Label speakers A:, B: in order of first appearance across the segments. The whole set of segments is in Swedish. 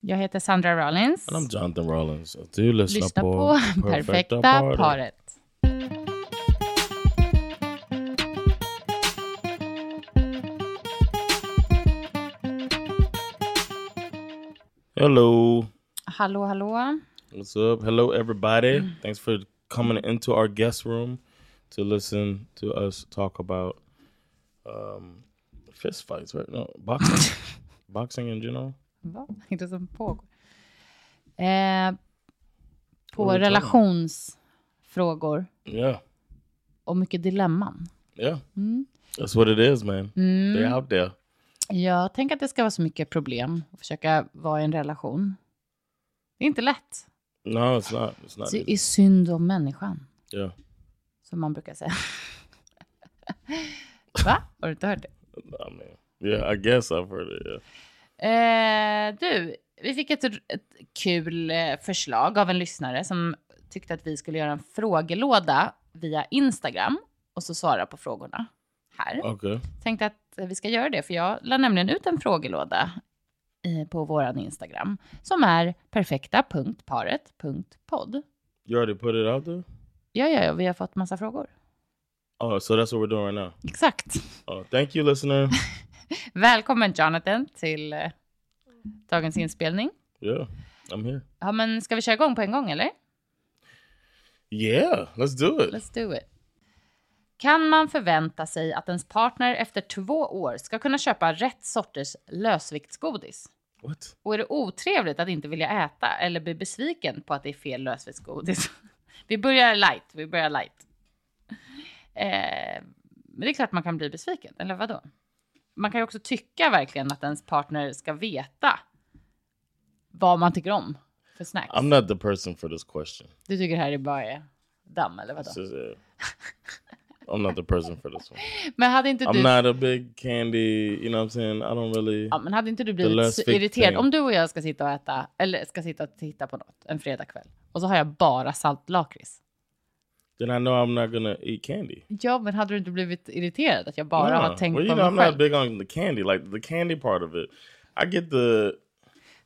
A: Jag heter Sandra Rollins.
B: And I'm Jonathan Rollins. Och Du lyssnar,
A: Lyssna på,
B: på
A: Perfekta paret.
B: Hello.
A: Hallå, hallå.
B: What's up? Hello, everybody. Thanks for coming into our guest room to listen to us talk about um, fist fights, right? No, boxing. boxing in general.
A: Vad är det som pågår? Eh, på
B: Vad är det?
A: relationsfrågor
B: Yeah.
A: och mycket dilemman.
B: Yeah. That's what it is, man. They're out there.
A: Jag tänker att det ska vara så mycket problem att försöka vara i en relation. Det är inte lätt.
B: No, it's not. It's not.
A: Det
B: easy.
A: är synd om människan,
B: Yeah.
A: som man brukar säga. Va? Har du inte hört det?
B: I mean, yeah, I guess I've heard it. Yeah.
A: Eh, du, vi fick ett, ett kul eh, förslag av en lyssnare som tyckte att vi skulle göra en frågelåda via Instagram och så svara på frågorna här.
B: Okay.
A: Tänkte att vi ska göra det, för jag la nämligen ut en frågelåda eh, på våran Instagram som är perfekta.paret.podd.
B: You already put it out there?
A: Ja, ja, ja, vi har fått massa frågor.
B: Oh, so that's what we're doing right now.
A: Exakt.
B: Oh, thank you, listener.
A: Välkommen Jonathan till eh, dagens inspelning.
B: yeah, I'm here.
A: Ja, men ska vi köra igång på en gång eller?
B: Yeah, let's do it.
A: Let's do it. Kan man förvänta sig att ens partner efter två år ska kunna köpa rätt sorters lösviktsgodis?
B: What?
A: Och är det otrevligt att inte vilja äta eller bli besviken på att det är fel lösviktsgodis? Vi börjar light, vi börjar light. Eh, men det är klart man kan bli besviken, eller vadå? Man kan ju också tycka verkligen att ens partner ska veta vad man tycker om för snacks.
B: I'm not the person for this question.
A: Du tycker det här är bara är damm, eller vadå?
B: This is it. I'm not the person for this one.
A: Men hade inte
B: I'm
A: du
B: not a big candy, you know what I'm saying? I don't really.
A: Ja, men hade inte du
B: The
A: blivit
B: last
A: så
B: big
A: irriterad
B: thing.
A: om du och jag ska sitta och äta eller ska sitta och titta på något en fredagkväll och så har jag bara saltlakrits?
B: Then I know I'm not going to eat candy.
A: Ja, men hade du inte blivit irriterad att jag bara
B: Nah.
A: har tänkt
B: well, you
A: på
B: know,
A: mig
B: I'm not
A: själv?
B: big on the candy, like the candy part of it. I get the.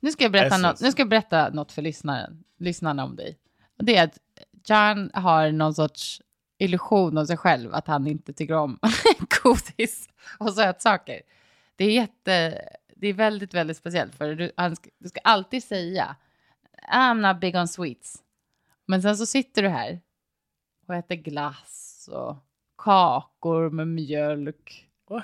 A: Nu ska, jag berätta
B: essence.
A: något, nu ska jag berätta något för lyssnaren, lyssnarna om dig. Och det är att John har någon sorts illusion om sig själv att han inte tycker om godis och sötsaker. Det är, jätte, det är väldigt, väldigt speciellt för du, han ska, du ska alltid säga I'm not big on sweets. Men sen så sitter du här och äter glass och kakor med mjölk.
B: Va?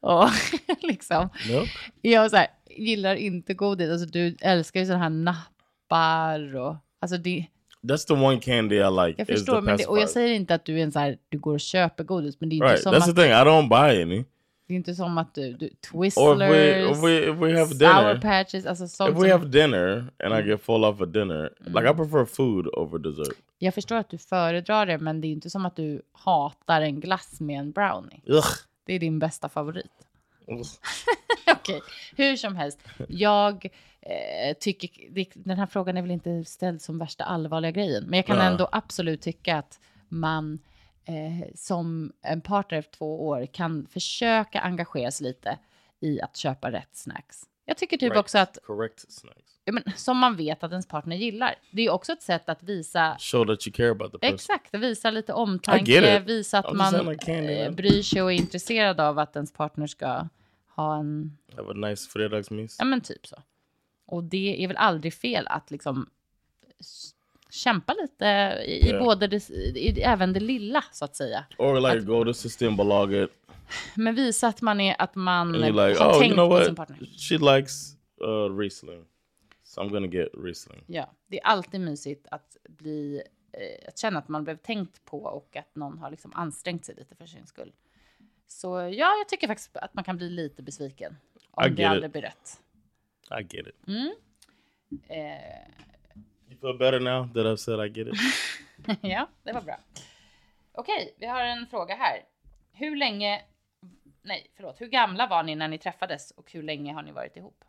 A: Och liksom.
B: Milk?
A: Jag så här, gillar inte godis. Alltså, du älskar ju sådana här nappar och... Alltså det,
B: That's the one candy I like.
A: jag
B: is the
A: förstår, men det, och jag
B: pacifier.
A: säger inte att du är en så här, du går och köper godis, men det är inte,
B: Right.
A: som
B: That's the
A: att,
B: thing. I don't buy any.
A: det är inte som att du, du
B: Or if we
A: Twizzlers,
B: if we if we have
A: Sour
B: dinner,
A: Patches, alltså sånt
B: if
A: som,
B: we have dinner and I get full off a dinner, like I prefer food over dessert.
A: Jag förstår att du föredrar det, men det är inte som att du hatar en glass med en brownie.
B: Ugh.
A: Det är din bästa favorit.
B: Ugh.
A: Okej, hur som helst. Jag eh, tycker, det- den här frågan är väl inte ställd som värsta allvarliga grejen, men jag kan
B: Ja.
A: ändå absolut tycka att man eh, som en partner efter två år kan försöka engagera sig lite i att köpa rätt snacks. Jag tycker typ
B: Right.
A: också att,
B: correct snacks.
A: ja, men, som man vet att ens partner gillar, det är ju också ett sätt att visa
B: Show that you care about the person.
A: Exakt, visa lite
B: I get
A: omtanke,
B: it.
A: visa att
B: I'm just
A: man
B: saying like candy,
A: eh,
B: man.
A: bryr sig och är intresserad av att ens partner ska ha en
B: Have a nice fredagsmys.
A: Ja, men typ så. Och det är väl aldrig fel att liksom s- kämpa lite i, i
B: Ja.
A: både det, i, även det lilla så att säga.
B: Or like go to Systembolaget
A: Men visa att man är att man
B: and you're like,
A: har
B: oh,
A: tänkt
B: you know
A: på sin
B: what?
A: partner.
B: She likes uh, Riesling, so I'm gonna get Riesling.
A: Ja, det är alltid mysigt att bli eh, att känna att man blev tänkt på och att någon har liksom ansträngt sig lite för sin skull. Så ja, jag tycker faktiskt att man kan bli lite besviken om
B: I
A: det
B: get
A: aldrig
B: it.
A: blir rätt.
B: I get it.
A: Eh,
B: You feel better now that I've said I get it?
A: ja, det var bra. Okej, vi har en fråga här. Hur länge... Nej, förlåt. Hur gamla var ni när ni träffades och hur länge har ni varit ihop?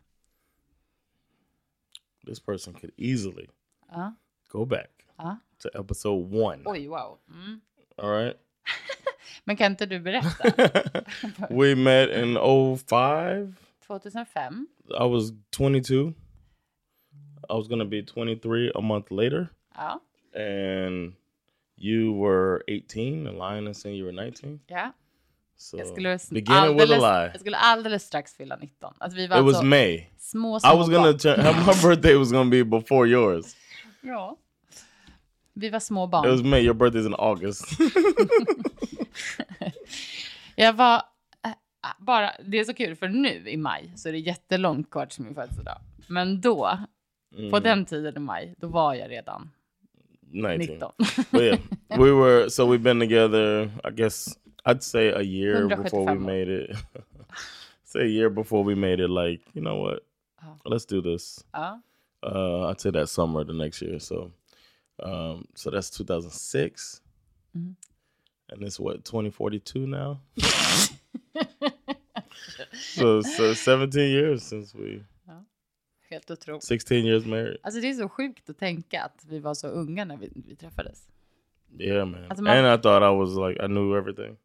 B: This person could easily
A: Ja.
B: go back
A: Ja.
B: to episode one.
A: Oj, wow. Mm.
B: All right.
A: Men kan inte du berätta?
B: we met in 05.
A: 2005?
B: I was 22. I was going to be 23 a month later.
A: Ja.
B: And you were 18 and lying and saying you were 19.
A: ja.
B: So
A: Jag, skulle s-
B: beginning with a
A: alldeles,
B: lie.
A: jag skulle alldeles strax fylla 19. Alltså, vi var
B: It was
A: alltså
B: May.
A: små, små
B: I was
A: barn.
B: gonna turn. My birthday was gonna be before yours.
A: Ja. Vi var små
B: It
A: barn.
B: was May. Your birthday's in August.
A: Jag var äh, bara, det är så kul för nu i maj så är det jättelångt kvar till min födelsedag. Men då, på
B: Mm.
A: den tiden i maj, då var jag redan
B: 19.
A: 19.
B: But yeah, we were. So we've been together. I guess I'd say a year before we
A: 175
B: made it. say a year before we made it. Like you know what?
A: Oh.
B: Let's do this.
A: ja.
B: Uh, I'd say that summer the next year. So, um, so that's 2006.
A: Mhm.
B: And it's what 2042 now. so, so 17 years since we
A: Helt otroligt.
B: 16 years married.
A: Alltså det är så sjukt att tänka att vi var så unga när vi, vi träffades.
B: Yeah, man.
A: As a mother-
B: and I thought I was like I knew everything.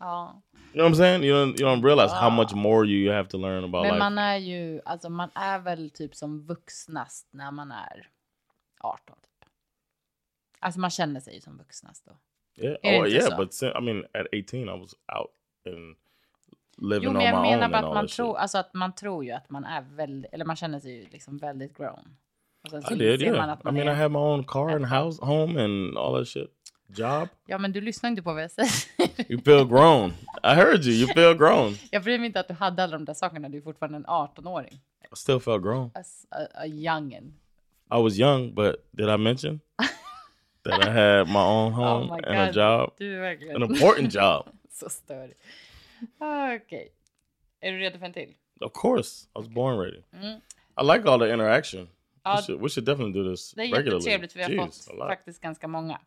A: Ja.
B: You know what I'm saying? You don't you don't realize how much more you have to learn about
A: Men
B: life.
A: man är ju, alltså man är väl typ som vuxnast när man är 18 typ. Alltså man känner sig ju som vuxnast då.
B: yeah.
A: it
B: Oh, yeah,
A: yourself.
B: but sin- I mean, at 18, I was out and
A: Jo
B: living
A: men
B: on
A: jag
B: my own
A: menar
B: and
A: bara att
B: all
A: man
B: that shit.
A: tror, alltså att man tror ju att man är väldigt, eller man känner sig ju liksom väldigt grown. Och sen så
B: I did,
A: inser
B: yeah. I
A: man
B: mean,
A: är,
B: I had my own car and house, home, and all that shit. Job.
A: Ja men du lyssnar inte på vad jag säger.
B: You feel grown. I heard you. You feel grown.
A: Jag bryr mig inte att du hade alla de där sakerna, du är fortfarande en 18-åring.
B: I still felt grown.
A: A, a, a youngin.
B: I was young, but did I mention that I had Oh my own home
A: Oh my
B: and a
A: God.
B: job,
A: Du är
B: an
A: verkligen
B: important job?
A: så störig. Ah, Okej. Är du redo för en till?
B: Of course, I was born ready.
A: Mm.
B: I like all the interaction.
A: Ja,
B: we, should, we should definitely do this
A: Det är
B: regularly.
A: jättetrevligt för vi har
B: Jeez, a
A: fått
B: lot.
A: faktiskt ganska många.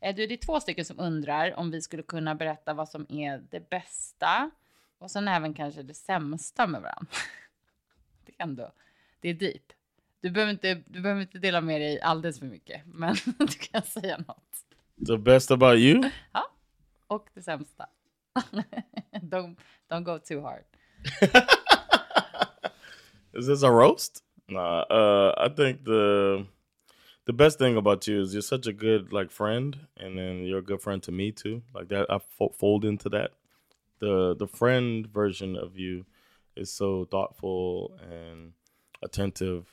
A: Eh, Du, det är två stycken som undrar om vi skulle kunna berätta vad som är det bästa och sen även kanske det sämsta med varandra. Det är ändå, det är deep. Du behöver inte, du behöver inte dela med dig alldeles för mycket, men du kan säga något.
B: The best about you?
A: Och det sämsta. Don't, don't go too hard.
B: Is this a roast? Nah. Uh, I think the the best thing about you is you're such a good like friend, and then you're a good friend to me too. Like that, I fo- fold into that. The the friend version of you is so thoughtful and attentive.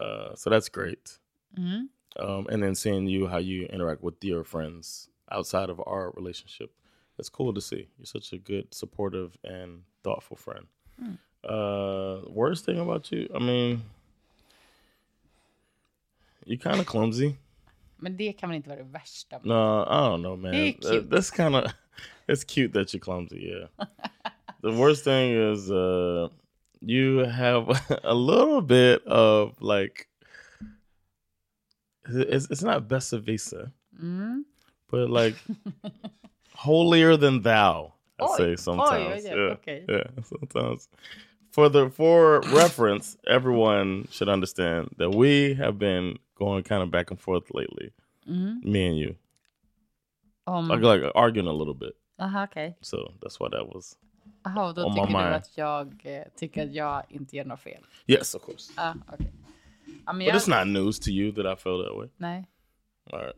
B: Uh, so that's great.
A: Mm.
B: Um, and then seeing you how you interact with your friends outside of our relationship, it's cool to see. You're such a good, supportive, and thoughtful friend. Uh, worst thing about you, I mean, you're kind of clumsy.
A: Men det kan väl inte vara det värsta? med-
B: No, I don't know, man.
A: You're
B: Th-
A: cute.
B: That's kind of it's cute that you're clumsy. Yeah. the worst thing is uh, you have a little bit of like it's it's not best of visa,
A: Mm.
B: but like holier than thou. I
A: Oi, oi,
B: say sometimes.
A: oi,
B: yeah,
A: okay.
B: yeah, sometimes. For the for reference, everyone should understand that we have been going kind of back and forth lately,
A: Mm.
B: me and you
A: Om...
B: like like arguing a little bit.
A: Aha, okej.
B: So that's why that was.
A: Jaha, och då
B: Om man
A: tycker du
B: är-
A: att jag eh, tycker att jag inte gör något fel?
B: Yes, of course.
A: Ah, okej. Ja, men
B: But
A: jag...
B: it's not news to you that I feel that way.
A: Nej.
B: All right.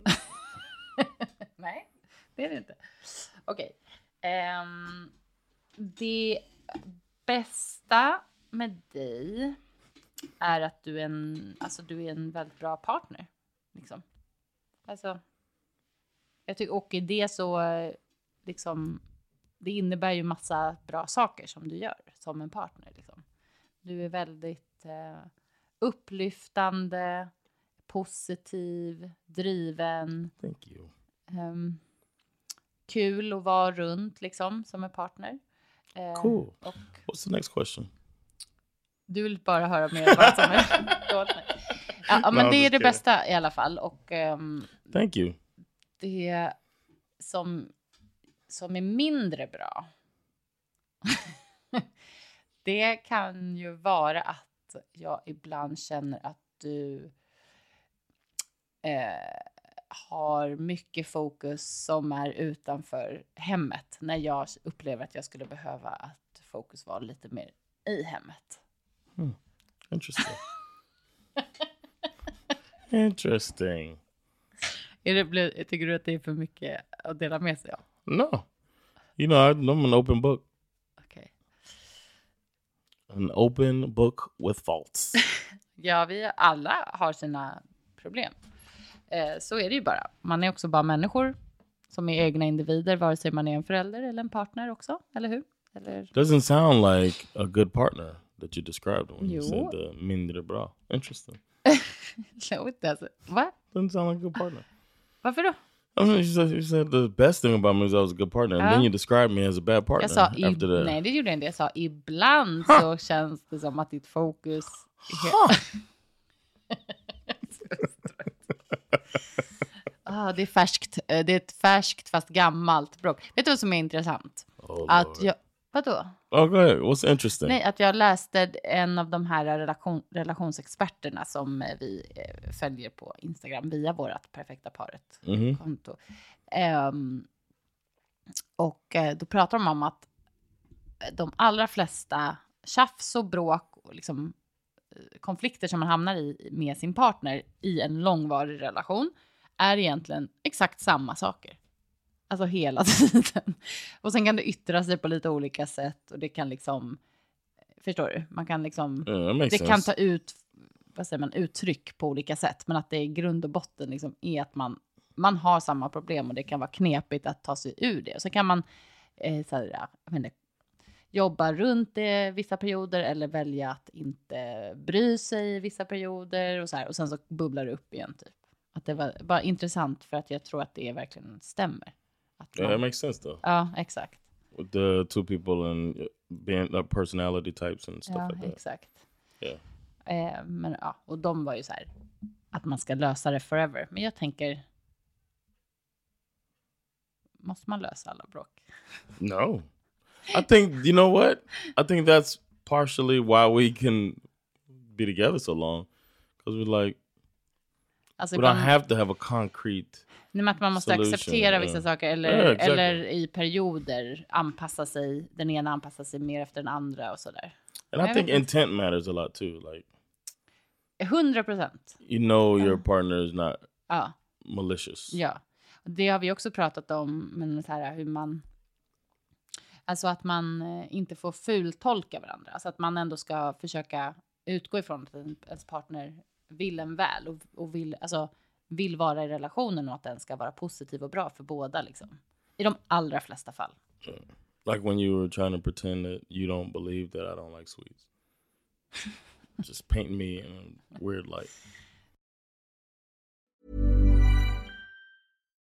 A: Nej, det är det inte. Okej. Ehm, det bästa med dig är att du är en, alltså, du är en väldigt bra partner. Liksom. Alltså, jag tycker, och i det så, eh, liksom, det innebär ju massa bra saker som du gör som en partner. Liksom. Du är väldigt eh, upplyftande, positiv, driven.
B: Thank you.
A: Ehm, kul att vara runt liksom som en partner. Eh,
B: Cool.
A: Och
B: What's the next question?
A: Du vill bara höra mer om vad som är dåligt. Ja, ja, men
B: No,
A: det är
B: just
A: det
B: kidding.
A: bästa i alla fall. Och ehm,
B: Thank you.
A: det som, som är mindre bra. det kan ju vara att jag ibland känner att du eh, har mycket fokus som är utanför hemmet. När jag upplever att jag skulle behöva att fokus var lite mer i hemmet.
B: Interesting. Interesting.
A: Är det, blir- tycker du att det är för mycket att dela med sig av?
B: No. You know, I, I'm an open book.
A: Okej.
B: An open book with faults.
A: Ja, vi alla har sina problem. Eh, så är det ju bara. Man är också bara människor som är egna individer, vare sig man är en förälder eller en partner också, eller hur? Eller...
B: Doesn't sound like a good partner that you described when you
A: Jo.
B: said the mindre bra. Interesting.
A: No, it doesn't. alltså, Va?
B: Doesn't sound like a good partner.
A: Varför då?
B: I mean, you said, you said the best thing about me is I was a good partner, and then
A: Huh?
B: you described me as a bad partner
A: Jag sa, i...
B: after that.
A: nej det gjorde jag inte. Jag sa, ibland så känns det som att ditt fokus... är helt- Ah, det är färskt. Eh, Det är ett färskt fast gammalt bråk. Vet du vad som är intressant?
B: Oh, Lord.
A: Att jag... Vadå?
B: Oh, go ahead. What's interesting?
A: Nej, att jag läste en av de här relation, relationsexperterna som eh, vi eh, följer på Instagram via vårt Perfekta
B: Mhm.
A: paret-konto. Ehm, och eh, då pratar de om att de allra flesta tjafs och bråk och liksom eh, konflikter som man hamnar i med sin partner i en långvarig relation är egentligen exakt samma saker. Alltså hela tiden. Och sen kan det yttra sig på lite olika sätt och det kan liksom, förstår du? Man kan liksom,
B: Yeah, that makes
A: det kan
B: sense.
A: ta ut, vad säger man, uttryck på olika sätt. Men att det i grund och botten liksom är att man, man har samma problem och det kan vara knepigt att ta sig ur det. Och så kan man eh, så här, ja, jag vet inte, jobba runt det vissa perioder eller välja att inte bry sig i vissa perioder och så här. Och sen så bubblar det upp igen typ. Att det var bara intressant för att jag tror att det verkligen stämmer. Att
B: yeah,
A: man-
B: that makes sense though.
A: Ja, exakt.
B: With the two people and uh, being like personality types and stuff
A: Ja,
B: like that.
A: exakt.
B: Yeah.
A: Eh, men, ja, och de var ju så här, att man ska lösa det forever. Men jag tänker, måste man lösa alla bråk?
B: No. I think you know what? I think that's partially why we can be together so long cuz we're like
A: Alltså
B: we don't
A: ibland,
B: have to have a concrete.
A: nej, men att man måste
B: solution,
A: acceptera vissa
B: yeah.
A: saker eller,
B: Yeah, exactly.
A: eller i perioder anpassa sig. Den ena anpassar sig mer efter den andra och sådär.
B: And I
A: I
B: think
A: don't-
B: intent matters a lot too. Like
A: 100 procent.
B: you know your partner is not
A: Ja.
B: malicious.
A: Ja, och det har vi också pratat om, men så här hur man... Alltså att man eh, inte får fultolka varandra. Alltså att man ändå ska försöka utgå ifrån att en- ens partner vill en väl och, och vill, alltså, vill vara i relationen och att den ska vara positiv och bra för båda. Liksom. I de allra flesta fall.
B: Like when you were trying to pretend that you don't believe that I don't like sweets. Just paint me in a weird light.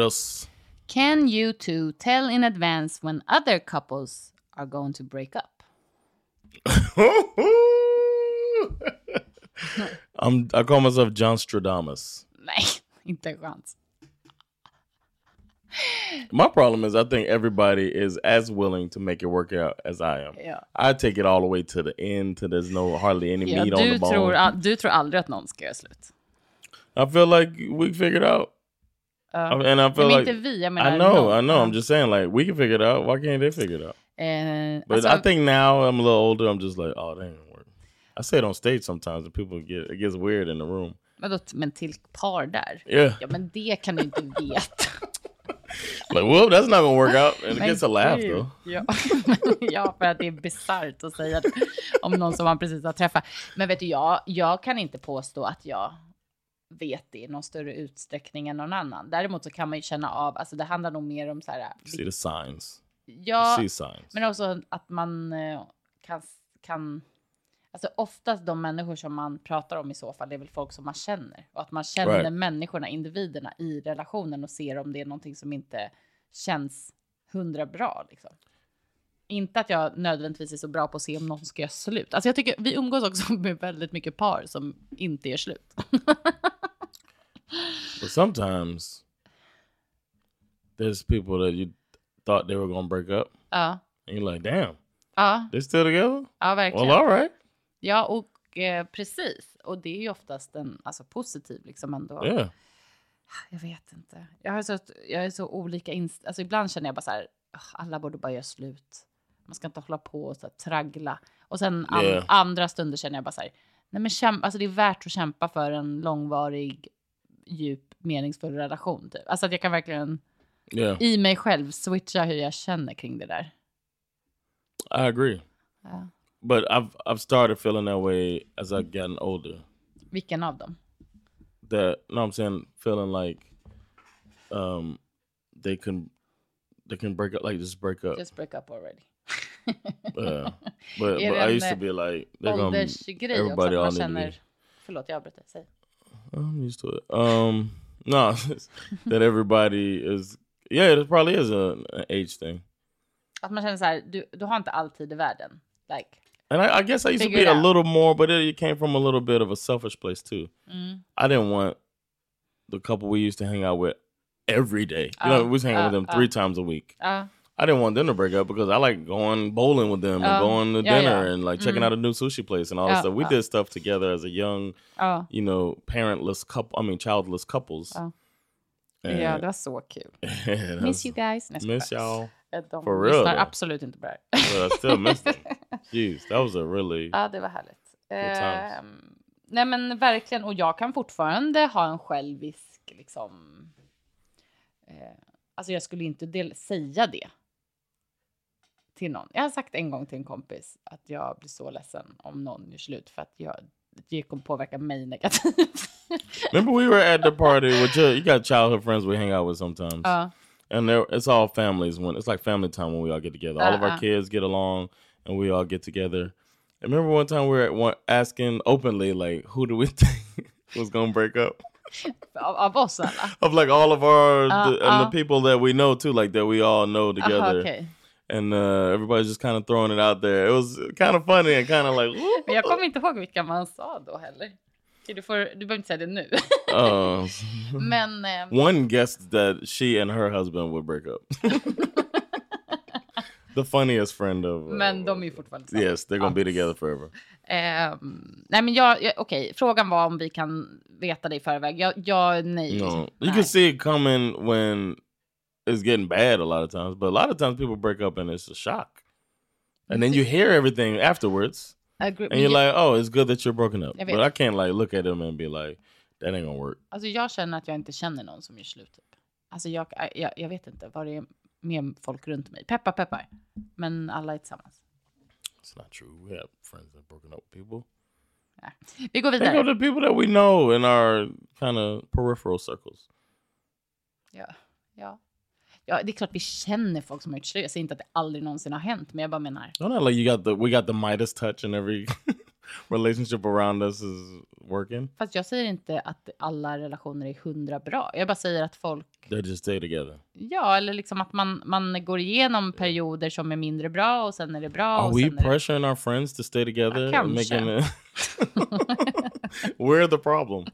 B: else?
A: Can you two tell in advance when other couples are going to break up?
B: oh I'm, I call myself John Stradamus.
A: Nej, inte en chans.
B: My problem is I think everybody is as willing to make it work out as I am.
A: Ja.
B: I take it all the way to the end till there's no hardly any
A: Ja,
B: meat on
A: du,
B: the bone.
A: tror, al- du tror aldrig att någon ska göra slut.
B: I feel like we figured out. I mean, and I feel
A: Men
B: like
A: inte vi, jag menar
B: I know,
A: någon.
B: I know. I'm just saying, like we can figure it out. Why can't they figure it out?
A: Eh,
B: But
A: alltså,
B: I think now I'm a little older. I'm just like, oh, that ain't gonna work. I say it on stage sometimes, and people get it gets weird in the room.
A: vadå, men till par där?
B: Yeah,
A: Ja, men det kan du inte veta.
B: like well, that's not gonna work out, and it
A: Men
B: gets a laugh
A: gud.
B: though.
A: Ja. ja, för att det är bisarrt att säga det om någon som man precis har träffat. Men vet du, jag, jag kan inte påstå att jag vet det i någon större utsträckning än någon annan. Däremot så kan man ju känna av, alltså det handlar nog mer om så här,
B: You see the signs.
A: ja,
B: you see signs.
A: men också att man eh, kan, kan, alltså oftast de människor som man pratar om i så fall, det är väl folk som man känner. Och att man känner
B: Right.
A: människorna, individerna i relationen och ser om det är någonting som inte känns hundra bra. Liksom. Inte att jag nödvändigtvis är så bra på att se om någon ska göra slut. Alltså jag tycker, vi umgås också med väldigt mycket par som inte gör slut.
B: But sometimes there's people that you thought they were gonna break up,
A: Ja,
B: and you're like, damn,
A: ja,
B: they're still together.
A: ja verkligen.
B: Well, all right.
A: Ja, och eh, precis. Och det är ju oftast en alltså, positiv liksom ändå.
B: Yeah.
A: Jag vet inte. Jag, har så, jag är så olika inst- alltså Ibland känner jag bara så här, "Åh, alla borde bara göra slut. Man ska inte hålla på och så här, traggla. Och sen an-
B: Yeah.
A: andra stunder känner jag bara så här, nej men kämpa, alltså det är värt att kämpa för en långvarig, djup, meningsfull relation. Typ. Alltså att jag kan verkligen
B: Yeah,
A: i mig själv switcha hur jag känner kring det där.
B: I agree.
A: Ja.
B: But I've I've started feeling that way as I've gotten older.
A: Vilken av dem?
B: That no, I'm saying feeling like um they can they can break up like just break up.
A: Just break up already.
B: yeah. But,
A: Är
B: but
A: det
B: I
A: en,
B: used to
A: eh,
B: be like they're gonna
A: Åldersgrej också, att
B: everybody all
A: man
B: need to be oh,
A: känner... Förlåt, jag avbryter. Säg.
B: I'm used to it. Um no that everybody is yeah, it probably is a, an age thing.
A: Att man känner så här, du, du har inte alltid i världen. Like,
B: And I, I guess I used
A: Figure
B: to
A: it
B: be a
A: out.
B: little more, but it, it came from a little bit of a selfish place too.
A: Mm-hmm.
B: I didn't want the couple we used to hang out with every day. You know,
A: Oh,
B: we was hanging with
A: oh,
B: them
A: oh.
B: three times a week.
A: ja,
B: I didn't want them to break up because I like going bowling with them and
A: Oh,
B: going to
A: yeah,
B: dinner
A: yeah.
B: and like checking
A: Mm.
B: out a new sushi place and all
A: Oh,
B: that stuff. We
A: oh.
B: did stuff together as a young,
A: ja.
B: you know, parentless couple. I mean, childless couples.
A: Oh.
B: And-
A: ja, det var så kul.
B: and I
A: Miss
B: was-
A: you guys. Nej, jag
B: Eh, Miss
A: skojar.
B: y'all.
A: Eh, De
B: For real,
A: lyssnar
B: though.
A: absolut inte på det här.
B: But I still miss them. Jeez, that was a really
A: Ja, det var härligt.
B: times.
A: Ehm, nej, men verkligen. Och jag kan fortfarande ha en självisk, liksom... Eh, alltså, jag skulle inte del- säga det till någon. Jag har sagt en gång till en kompis att jag blir så ledsen om någon gör slut för att jag, det kommer påverka mig negativt.
B: Remember we were at the party with your you got childhood friends we hang out with sometimes.
A: Ja.
B: and there it's all families when it's like family time when we all get together. all of
A: Uh-uh.
B: our kids get along and we all get together. I remember one time we were at one, asking openly like who do we think was going to break up?
A: av, av oss alla?
B: Of like all of our the, and
A: Uh-uh.
B: the people that we know too like that we all know together.
A: Aha, okej.
B: And uh, everybody's just kind of throwing it out there. It was kind of funny and kind of like "Ooh."
A: Men jag kommer inte ihåg vilka man sa då heller. Okej, Du, får, du behöver inte säga det nu.
B: Uh,
A: Men eh,
B: one guessed that she and her husband would break up. the funniest friend of uh,
A: Men de är ju fortfarande tillsammans.
B: Yes, they're gonna be together forever.
A: Ehm, nej men jag, jag okej, frågan var om vi kan veta det i förväg. Jag, jag nej.
B: No, you
A: nej.
B: can see it coming when it's getting bad a lot of times, but a lot of times people break up and it's a shock. And then you hear everything afterwards,
A: Agree-
B: and
A: men
B: you're
A: jag,
B: like, "Oh, it's good that you're broken up."
A: Jag vet.
B: But I can't like look at them and be like, "That ain't gonna work."
A: alltså jag känner att jag inte känner någon som gör slut. Typ. Alltså jag, jag, jag vet inte vad det är med folk runt mig. Peppar, peppar. Men alla är tillsammans.
B: It's not true. We have friends that have broken up with people.
A: Nej. Vi går
B: Think of
A: vidare.
B: the people that we know in our kind of peripheral circles.
A: Ja. Ja. ja, det är klart vi känner folk som har gjort slut. Jag säger inte att det aldrig någonsin har hänt, men jag bara menar.
B: Don't act like you got the we got the Midas touch, and every relationship around us is working.
A: Fast jag säger inte att alla relationer är hundra bra. Jag bara säger att folk
B: They just stay together.
A: Ja, eller liksom att man, man går igenom perioder som är mindre bra och sen är det bra.
B: Mm. Are
A: och
B: we
A: sen är det...
B: pressuring our friends to stay together?
A: Kanske.
B: and making it- We're the problem.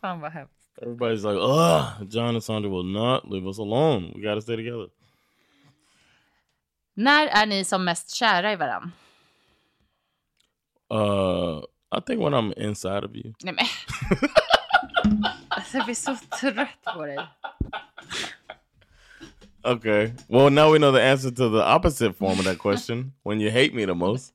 A: Fan vad hemskt.
B: Everybody's like, ugh, John and Sandra will not leave us alone. We got to stay together.
A: När är ni som mest kära i varandra?
B: Uh, I think when I'm inside of you.
A: Nej men. alltså jag blir så trött på dig.
B: Okay. Well, now we know the answer to the opposite form of that question. when you hate me the most,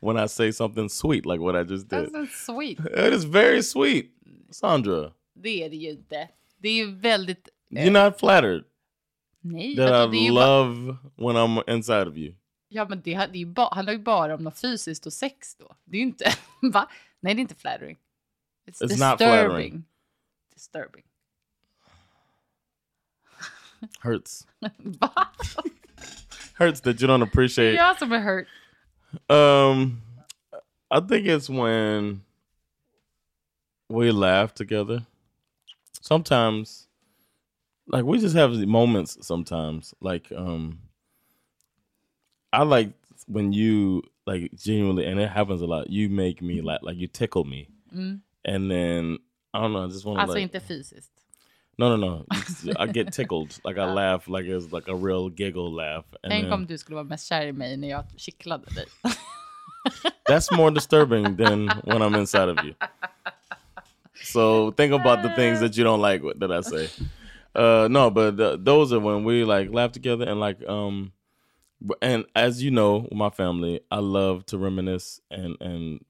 B: when I say something sweet like what I just did.
A: That's so Alltså, sweet.
B: It is very sweet, Sandra.
A: Det är det ju inte. Det är ju väldigt... eh,
B: You're not flattered
A: Nej.
B: that I
A: alltså, det är ju bara-
B: love when I'm inside of you.
A: Ja, men det, det är ju ba, handlar ju bara om något fysiskt och sex då. Det är ju inte... Va? Nej, det är inte flattering. It's,
B: It's not
A: disturbing.
B: flattering.
A: Disturbing.
B: Hurts.
A: Va?
B: Hurts that you don't appreciate.
A: Jag som är hurt.
B: Um, I think it's when we laugh together. Sometimes, like we just have moments. Sometimes, like um, I like when you like genuinely, and it happens a lot. You make me laugh, like you tickle me, and then I don't know. Mm-hmm. I just want to
A: Alltså
B: like
A: inte fysiskt.
B: no, no, no. I get tickled. Like I laugh, like it's like a real giggle laugh. Uh. And
A: Tänk
B: then-
A: om du skulle vara mest kär i mig när jag kittlade dig.
B: That's more disturbing than when I'm inside of you. So think about the things that you don't like that I say. Uh, no, but th- those are when we like laugh together and like um, b- and as you know, my family, I love to reminisce and and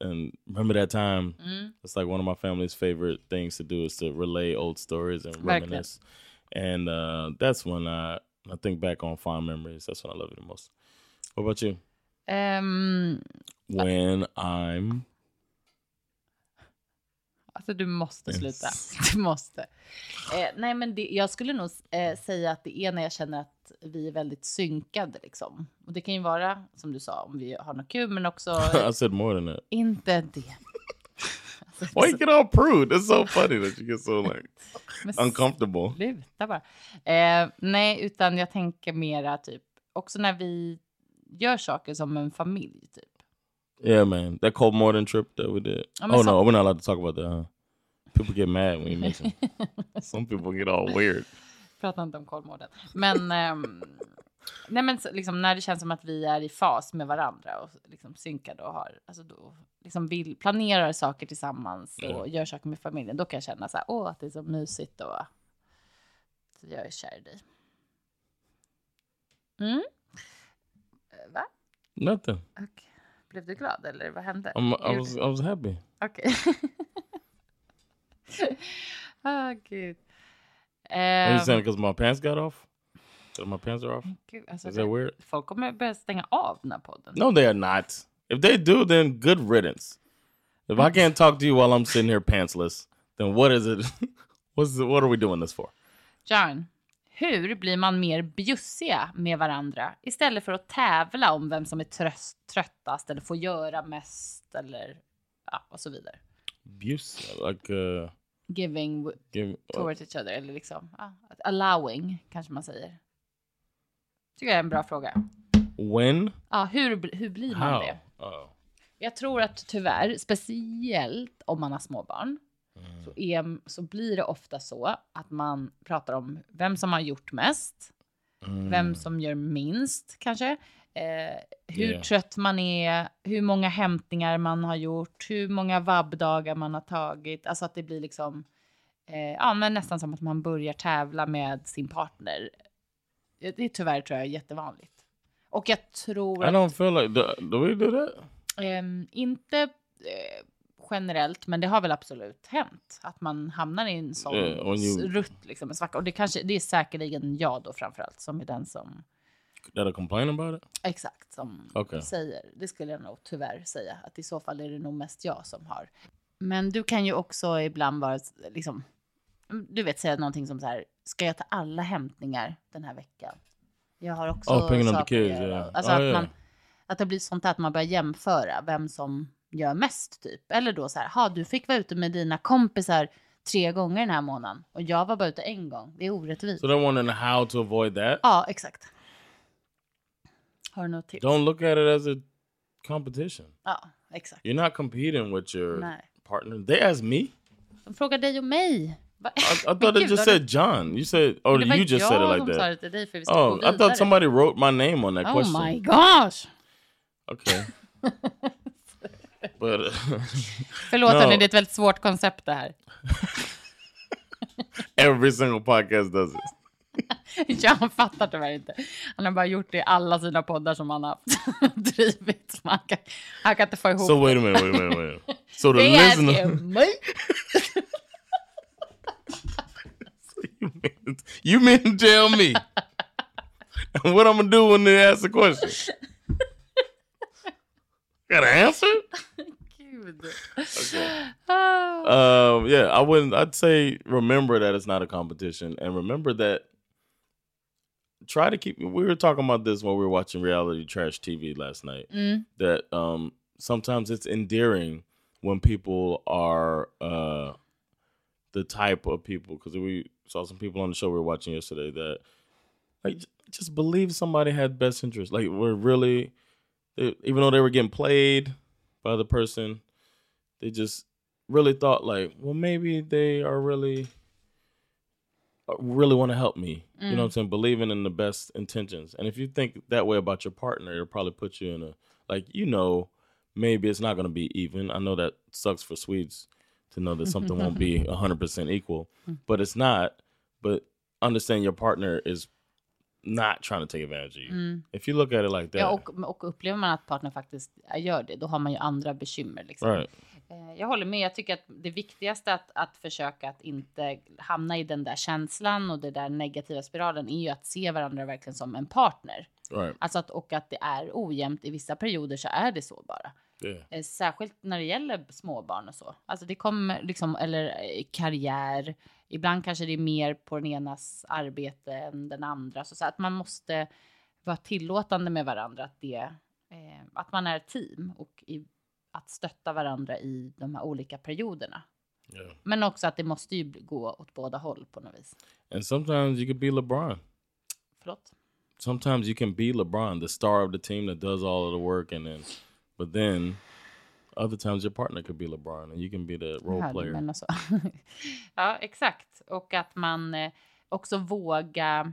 B: and remember that time. It's like one of my family's favorite things to do is to relay old stories and
A: Right, yeah.
B: reminisce. And uh, that's when I I think back on fond memories. That's when I love you the most. What about you?
A: Ehm,
B: when I'm
A: alltså du måste
B: Yes.
A: sluta. Du måste. Eh, nej, men det, jag skulle nog eh, säga att det är när jag känner att vi är väldigt synkade liksom. Och det kan ju vara, som du sa, om vi har något kul, men också
B: I said more than that.
A: inte det.
B: Why you get all prude? It's so funny that you get so like
A: Men
B: uncomfortable.
A: Sluta bara. Eh, nej, utan jag tänker mera typ också när vi gör saker som en familj. Typ.
B: Yeah, man. That cold modern trip that we did.
A: I'm
B: oh
A: so-
B: no, we're not allowed to talk about that. Huh? People get mad when you mention. Some people get all weird.
A: Prata inte om Kolmården. Men, ehm, nej, men så, liksom, när det känns som att vi är i fas med varandra och liksom, synkade och har, alltså, då, liksom, vill, planerar saker tillsammans och gör saker med familjen, då kan jag känna så här, åh, att det är så mysigt och så jag är kär i dig. Mm. Eh, Va?
B: Nothing.
A: Okej. Blev du glad eller vad hände?
B: I'm, I
A: Gjorde-
B: was I was happy.
A: Okej. Ah, gud.
B: Are you
A: Ehm,
B: saying because my pants got off? That my pants are off?
A: gud, alltså
B: Is that
A: det-
B: weird?
A: Folk kommer börja stänga av den här podden.
B: No, they are not. If they do, then good riddance. If I can't talk to you while I'm sitting here pantsless, then what is it? What's the, what are we doing this for?
A: John, hur blir man mer bjussiga med varandra istället för att tävla om vem som är tröst, tröttast eller får göra mest eller ja, och så vidare?
B: Abuse like uh
A: Giving w-
B: give uh,
A: towards each other eller liksom ja, att- allowing kanske man säger. Tycker jag är en bra fråga.
B: When?
A: Ja, hur, bl- hur blir man
B: How?
A: det?
B: Oh.
A: Jag tror att tyvärr, speciellt om man har småbarn, så, är, så blir det ofta så att man pratar om vem som har gjort mest, vem som gör minst kanske, eh, hur
B: Yeah.
A: trött man är, hur många hämtningar man har gjort, hur många vabbdagar man har tagit. Alltså att det blir liksom, eh, ja men nästan som att man börjar tävla med sin partner. Det är tyvärr tror jag jättevanligt. Och jag tror
B: I
A: att...
B: don't feel like do, do we do that?
A: Ehm, inte eh, generellt, men det har väl absolut hänt att man hamnar i en sån
B: Eh, och ju-
A: rutt, liksom en svacka. Och det, kanske, det är säkerligen jag då framförallt som är den som
B: That I complain about it?
A: exakt som
B: Okej.
A: säger. Det skulle jag nog tyvärr säga att i så fall är det nog mest jag som har. Men du kan ju också ibland vara liksom, du vet säga någonting som så här, ska jag ta alla hämtningar den här veckan? Jag har också
B: Oh, picking up the
A: saker att
B: kids,
A: göra.
B: yeah.
A: Alltså
B: Oh,
A: att,
B: yeah.
A: man, att det blir sånt där att man börjar jämföra vem som gör mest typ. Eller då så här, ha du fick vara ute med dina kompisar tre gånger den här månaden och jag var bara ute en gång. Det är orättvist.
B: So they're wondering how to avoid that.
A: Ja, exakt. Har du något tips?
B: Don't look at it as a competition.
A: Ja, exakt.
B: You're not competing with your
A: Nej.
B: partner. They asked me.
A: De frågar dig och mig. Va-
B: I
A: Men
B: thought it
A: gud,
B: just
A: har du-
B: said John. You said, or
A: Men det var
B: you just said it
A: jag
B: like
A: som sa det
B: that.
A: till dig för vi ska gå
B: Oh,
A: vidare.
B: I thought somebody wrote my name on that
A: Oh
B: question.
A: my gosh!
B: Okay. but uh,
A: Förlåt
B: No.
A: hörni, det är ett väldigt svårt koncept det här.
B: every single podcast does it.
A: Jag fattar tyvärr inte. Han har bara gjort det i alla sina poddar som han har haft drivit. Så Han kan, han kan inte få ihop
B: So wait a minute, wait a minute, wait a minute. So the
A: det.
B: listener,
A: är mig.
B: you mean, you mean to tell me what I'm gonna do when they ask the question? Got an answer?
A: Gud.
B: Um, yeah, I wouldn't. I'd say remember that it's not a competition, and remember that. Try to keep. We were talking about this when we were watching reality trash TV last night.
A: Mm.
B: That um, sometimes it's endearing when people are uh, the type of people because we saw some people on the show we were watching yesterday that like j- just believe somebody had best interest. Like we're really, they, even though they were getting played by the person, they just really thought like, well, maybe they are really, uh, really want to help me. You know what I'm saying? Believing in the best intentions. And if you think that way about your partner, it'll probably put you in a like, you know, maybe it's not going to be even. I know that sucks for Swedes to know that something won't be 100% equal, but it's not. But understand your partner is not trying to take advantage of you. If you look at it like that,
A: Ja, och, och upplever man att partnern faktiskt gör det, då har man ju andra bekymmer. Liksom.
B: right?
A: Eh, Jag håller med. Jag tycker att det viktigaste att, att försöka att inte hamna i den där känslan och den där negativa spiralen är ju att se varandra verkligen som en partner.
B: Right.
A: Alltså att, och att det är ojämnt i vissa perioder så är det så bara.
B: Yeah.
A: Eh, Särskilt när det gäller småbarn och så. Alltså det kommer liksom, eller eh, karriär. Ibland kanske det är mer på den enas arbete än den andra. Så, så att man måste vara tillåtande med varandra. Att, det, eh, att man är ett team och i, att stötta varandra i de här olika perioderna.
B: Yeah.
A: Men också att det måste ju gå åt båda håll på något vis.
B: And sometimes you could be LeBron.
A: Förlåt.
B: Sometimes you can be LeBron, the star of the team that does all of the work, and then, but then, other times your partner could be LeBron, and you can be the role
A: Hörde,
B: player.
A: men alltså- ja, exakt. Och att man eh, också våga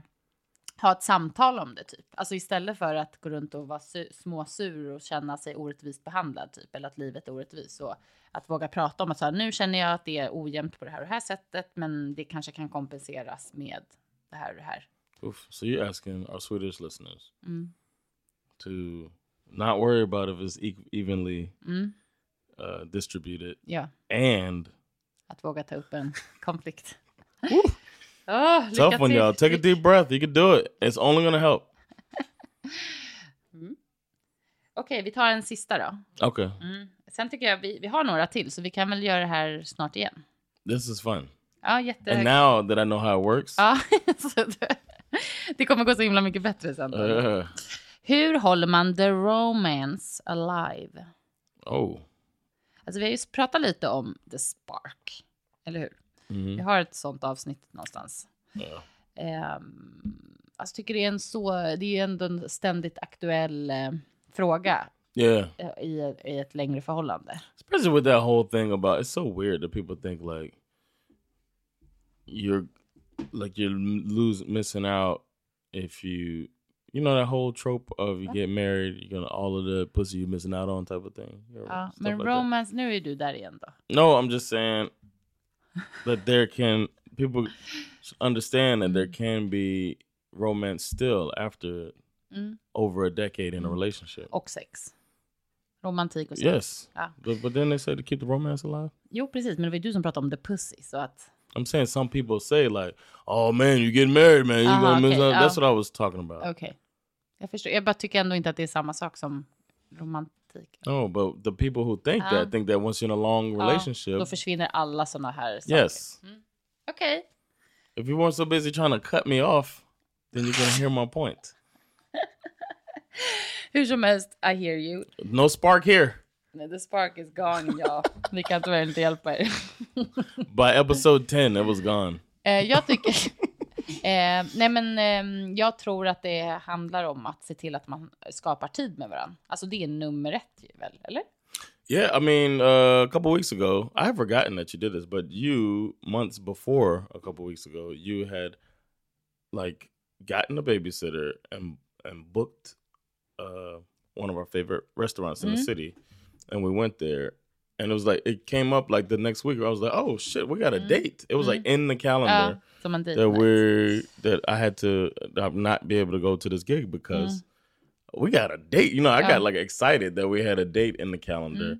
A: ha ett samtal om det typ. Alltså istället för att gå runt och vara su- småsur och känna sig orättvist behandlad typ. Eller att livet är orättvist. Så att våga prata om att så här, nu känner jag att det är ojämnt på det här och det här sättet. Men det kanske kan kompenseras med det här och det här.
B: Oof. So you're asking our Swedish listeners
A: Mm.
B: to not worry about if it's e- evenly
A: Mm.
B: uh, distributed,
A: Ja,
B: and
A: att våga ta upp en konflikt. oh,
B: tough one, y'all. Take a deep breath. You can do it. It's only gonna help.
A: Okej, vi tar en sista då.
B: Okay,
A: Mm. Sen tycker jag vi, vi har några till så vi kan väl göra det här snart igen.
B: this is fun.
A: Ja, jätte...
B: And now that I know how it works,
A: ja, så det, det kommer gå så himla mycket bättre sen.
B: uh,
A: Hur håller man the romance alive?
B: oh,
A: Alltså vi har ju pratat lite om the spark, eller hur? Vi har ett sånt avsnitt någonstans. Ehm, alltså tycker det är en så, det är ju ändå en ständigt aktuell eh, fråga
B: yeah.
A: eh, i, i ett längre förhållande.
B: especially with that whole thing about it's so weird that people think like you're like you're lose missing out if you you know that whole trope of you get married you're gonna all of the pussy you're missing out on type of thing You know,
A: Ja,
B: stuff
A: men
B: like that.
A: romance, nu är du där igen då.
B: no i'm just saying that there can people understand that there can be romance still after
A: Mm.
B: over a decade in a relationship
A: Och sex. Romantik och sex.
B: yes
A: Ah.
B: but, but then they say to keep the romance alive
A: Jo, precis. Men det var ju du som pratade om the pussy. Så att,
B: I'm saying some people say like, "Oh man, you getting married, man. You
A: Uh-huh,
B: gonna miss
A: okay,
B: out." That's
A: uh.
B: what I was talking about.
A: okej. Jag förstår. Jag bara tycker ändå inte att det är samma sak som romantik.
B: No, but the people who think
A: Uh-huh.
B: that think that once you're in a long
A: Ja, då
B: relationship,
A: försvinner alla såna här saker.
B: yes,
A: Okej.
B: if you weren't so busy trying to cut me off, then you're gonna hear my point.
A: Hur som helst, I hear you.
B: No spark here.
A: The spark is gone, ja. Vi kan tyvärr inte hjälpa er.
B: By episode ten, it was gone.
A: Eh, jag tycker... Eh, nej men ehm, jag tror att det handlar om att se till att man skapar tid med varandra. Alltså det är nummer ett ju väl, eller?
B: Yeah, I mean, uh, a couple weeks ago, I had forgotten that you did this, but you months before, a couple weeks ago, you had like gotten a babysitter and and booked uh, one of our favorite restaurants in the city, and we went there, and it was like it came up like the next week. I was like, oh shit, we got a date. It was like in the
A: Ja,
B: calendar
A: som en
B: that
A: dejtnight.
B: we're that I had to that I'm not be able to go to this gig because we got a date. You know, I
A: Mm-hmm. Yeah. Mm-hmm.
B: got like excited that we had a date in the calendar,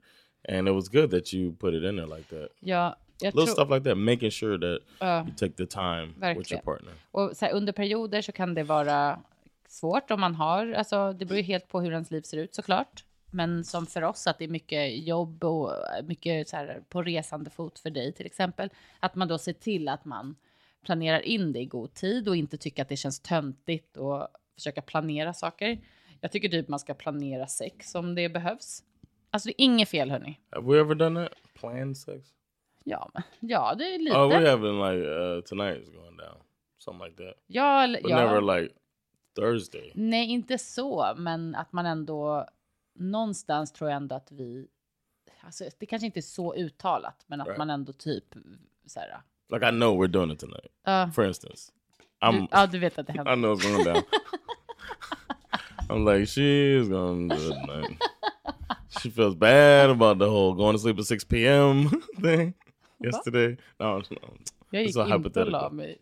B: and it was good that you put it in there like that.
A: Ja, jag
B: Little
A: tror,
B: stuff like that, making sure that
A: Ja.
B: you take the time with your
A: Verkligen.
B: partner.
A: Och så här, under perioder så kan det vara svårt om man har, alltså det beror ju helt på hur ens liv ser ut såklart. Men som för oss att det är mycket jobb och mycket så här, på resande fot för dig till exempel. Att man då ser till att man planerar in det i god tid och inte tycker att det känns töntigt och försöka planera saker. Jag tycker typ man ska planera sex om det behövs. Alltså det är inget fel hörni.
B: Have we ever done that? Planned sex?
A: Ja, men- ja det är lite.
B: Oh, we haven't like uh, tonight is going down, something like that.
A: ja, eller-
B: But
A: ja.
B: never like Thursday.
A: Nej, inte så, men att man ändå någonstans tror jag ändå att vi, alltså det kanske inte är så uttalat, men att
B: Right.
A: man ändå typ så här.
B: Like I know we're doing it tonight.
A: Uh,
B: For instance,
A: du,
B: I'm
A: ja, du vet att det
B: I
A: händer.
B: know it's going down. I'm like, she's going to do it tonight. She feels bad about the whole going to sleep at 6 p.m. thing yesterday. No, no.
A: Jag gick inte
B: it's a
A: och la
B: hypothetical.
A: mig.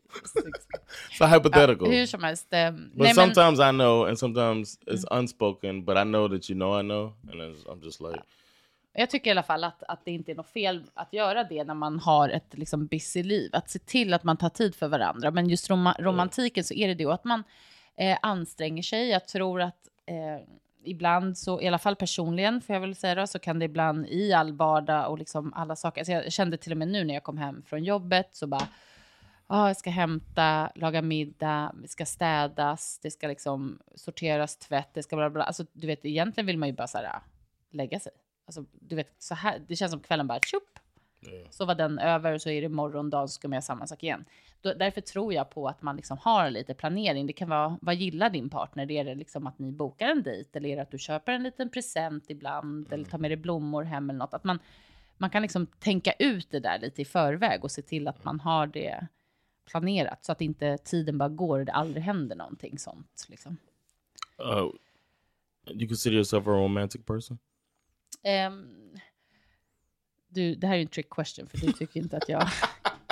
B: It's a hypothetical.
A: Hur som helst. eh,
B: but
A: nej, men,
B: sometimes I know, and sometimes it's unspoken, but I know that you know I know. And it's- I'm just like,
A: jag tycker i alla fall att, att det inte är något fel att göra det när man har ett liksom busy liv. Att se till att man tar tid för varandra. Men just roma romantiken så är det det. Och att man eh, anstränger sig. Jag tror att eh, ibland så, i alla fall personligen får jag väl säga då, så kan det ibland i all vardag och liksom alla saker. Alltså jag kände till och med nu när jag kom hem från jobbet så bara Ja, jag ska hämta, laga middag, det ska städas, det ska liksom sorteras tvätt, det ska bla bla. Alltså, du vet, egentligen vill man ju bara så här, lägga sig. Alltså, du vet, så här, det känns som kvällen bara tjopp. Så var den över och så är det morgondagen så ska man göra samma sak igen. Då, därför tror jag på att man liksom har lite planering. Det kan vara, vad gillar din partner? Är det liksom att ni bokar en dejt eller är det att du köper en liten present ibland eller tar med dig blommor hem eller något? Att man, man kan liksom tänka ut det där lite i förväg och se till att man har det planerat så att inte tiden bara går och det aldrig händer någonting sånt. Liksom.
B: uh, you consider yourself a romantic person?
A: Ehm, du, det här är ju en trick question för du tycker inte att jag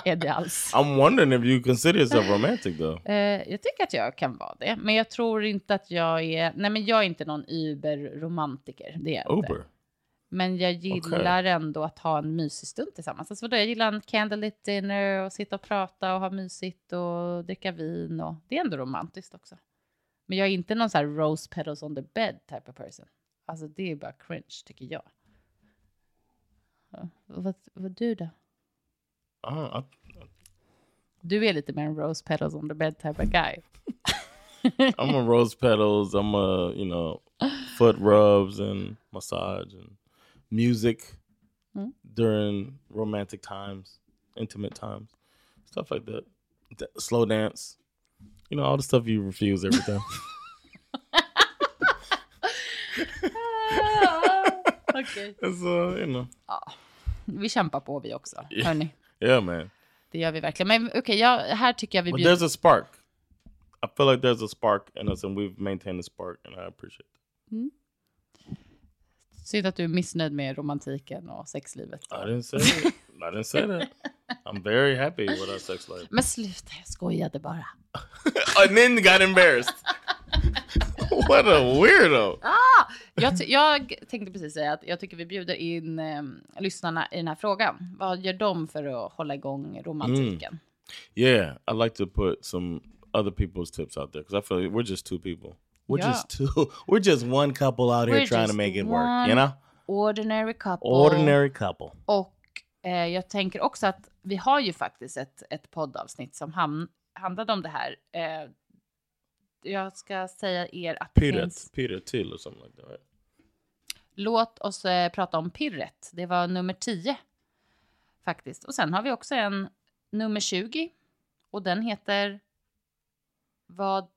A: är det alls.
B: I'm wondering if you consider yourself romantic, though.
A: Eh, jag tycker att jag kan vara det, men jag tror inte att jag är... Nej, men jag är inte någon Uber-romantiker. Det är jag inte.
B: Uber.
A: Men jag gillar ändå att ha en mysig stund tillsammans. Alltså vadå, jag gillar en candlelit dinner och sitta och prata och ha mysigt och dricka vin. Och, det är ändå romantiskt också. Men jag är inte någon så här rose petals on the bed type of person. Alltså det är bara cringe tycker jag. Ja, och Vad, vad du då?
B: Uh,
A: Du är lite mer en rose petals on the bed type of guy.
B: I'm a rose petals. I'm a you know foot rubs and massage and music during romantic times, intimate times, stuff like that. D- slow dance, you know, all the stuff you refuse every time.
A: Okej.
B: And so uh, you know,
A: Vi kämpar på vi också, hörni.
B: yeah, man.
A: Det gör vi verkligen. Men okej, jag- här tycker jag vi
B: But
A: bjuder...
B: there's a spark. I feel like there's a spark in us, and we've maintained the spark, and I appreciate.
A: Synd att du är missnöjd med romantiken och sexlivet.
B: That. I didn't say that. I didn't say that. I'm very happy with our sex life.
A: Men sluta, jag skojade bara.
B: and then got embarrassed. what a weirdo.
A: Jag, ty- jag tänkte precis säga att jag tycker vi bjuder in eh, lyssnarna i den här frågan. Vad gör de för att hålla igång romantiken?
B: Yeah, I like to put some other people's tips out there because I feel like we're just two people. We're
A: Yeah.
B: just two. We're just one couple out here
A: We're
B: trying to
A: just
B: make it
A: one
B: work. You know,
A: Ordinary couple.
B: ordinary couple.
A: Och eh, jag tänker också att vi har ju faktiskt ett, ett poddavsnitt som ham- handlade om det här. Eh, jag ska säga er att det
B: Peter,
A: finns...
B: Peter Till or something like that. Right?
A: Låt oss eh, prata om pirret. Det var nummer 10 faktiskt. Och sen har vi också en nummer 20 och den heter Vad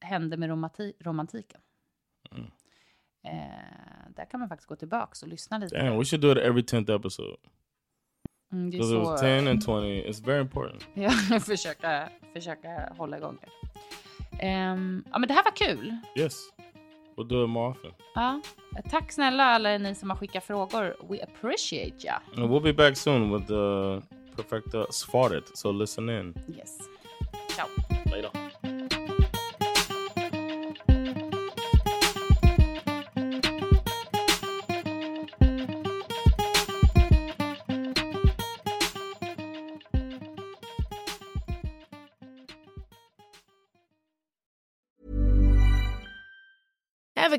A: händer med romati- romantiken? Eh, där kan man faktiskt gå tillbaka och lyssna lite.
B: Damn, we should do it every 10th episode.
A: Mm, det är
B: Because it was
A: så,
B: 10 and 20. It's very important.
A: ja, försöka, försöka hålla igång det. Ehm, ja, men det här var kul.
B: Yes. We'll do it more often.
A: Ja. Tack snälla alla ni som har skickat frågor. We appreciate ya.
B: And we'll be back soon with the Perfecta Svaret. So listen in.
A: Yes. Ciao.
B: Later.
C: Ever